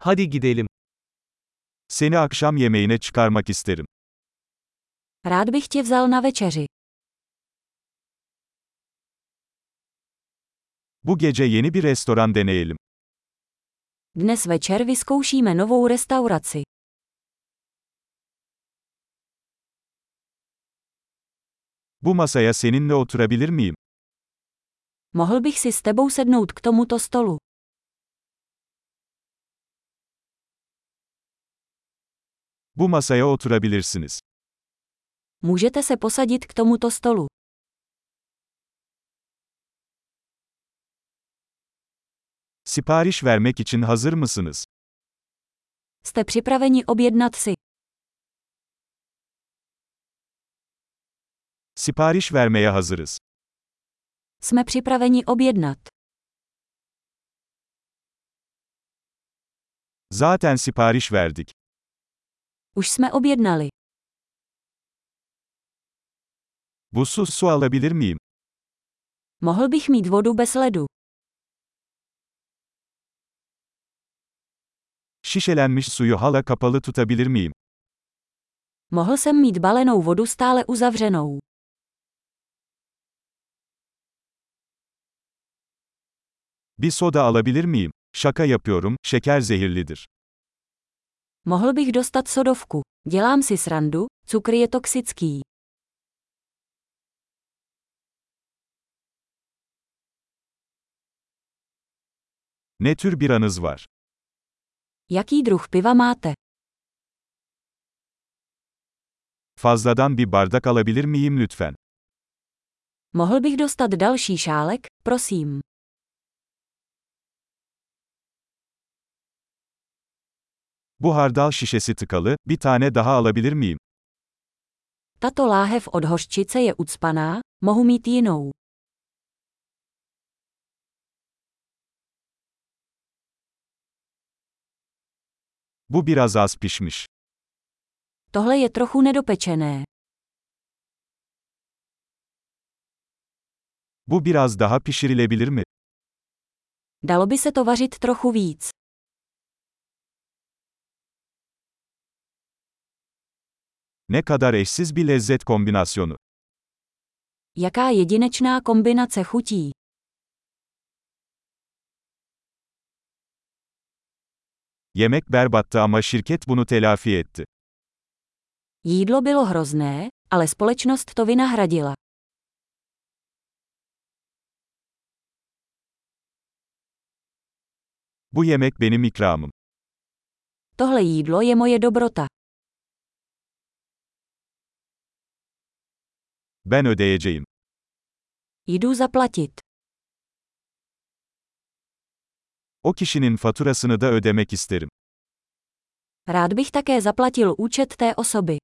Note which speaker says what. Speaker 1: Hadi gidelim.
Speaker 2: Seni akşam yemeğine çıkarmak isterim.
Speaker 3: Rád bych tě vzal na večeři.
Speaker 2: Bu gece yeni bir restoran deneyelim.
Speaker 3: Dnes večer vyzkoušíme novou restauraci.
Speaker 2: Bu masaya seninle oturabilir miyim?
Speaker 3: Mohl bych si s tebou sednout k tomuto stolu.
Speaker 2: Bu masaya oturabilirsiniz.
Speaker 3: Můžete se posadit k tomuto stolu.
Speaker 2: Sipariş vermek için hazır mısınız?
Speaker 3: Jste připraveni objednat si.
Speaker 2: Sipariş vermeye hazırız.
Speaker 3: Jsme připraveni objednat.
Speaker 2: Zaten sipariş verdik.
Speaker 3: Už jsme objednali.
Speaker 2: Buzsuz su alabilir miyim?
Speaker 3: Mohl bych mít vodu bez ledu.
Speaker 2: Şişelenmiş suyu hala kapalı tutabilir miyim?
Speaker 3: Mohl jsem mít balenou vodu stále uzavřenou.
Speaker 2: Bir soda alabilir miyim? Şaka yapıyorum, şeker zehirlidir.
Speaker 3: Mohl bych dostat sodovku. Dělám si srandu, cukr je toxický.
Speaker 2: Ne tür bir anız var?
Speaker 3: Jaký druh piva máte?
Speaker 2: Fazladan bir bardak alabilir miyim lütfen?
Speaker 3: Mohl bych dostat další šálek, prosím.
Speaker 2: Bu hardal şişesi tıkalı, bir tane daha alabilir miyim?
Speaker 3: Tato láhev od hořčice je ucpaná, mohu mít jinou.
Speaker 2: Bu biraz az pişmiş.
Speaker 3: Tohle je trochu nedopečené.
Speaker 2: Bu biraz daha pişirilebilir mi?
Speaker 3: Dalo by se to vařit trochu víc.
Speaker 2: Ne kadar eşsiz bir lezzet kombinasyonu.
Speaker 3: Jaká jedinečná kombinace chutí.
Speaker 2: Yemek berbattı ama şirket bunu telafi etti.
Speaker 3: Jídlo bylo hrozné, ale společnost to vynahradila.
Speaker 2: Bu yemek benim ikramım.
Speaker 3: Tohle jídlo je moje dobrota.
Speaker 2: Ben ödeyeceğim.
Speaker 3: Jdu zaplatit.
Speaker 2: O kişinin faturasını da ödemek isterim.
Speaker 3: Rád bych také zaplatil účet té osoby.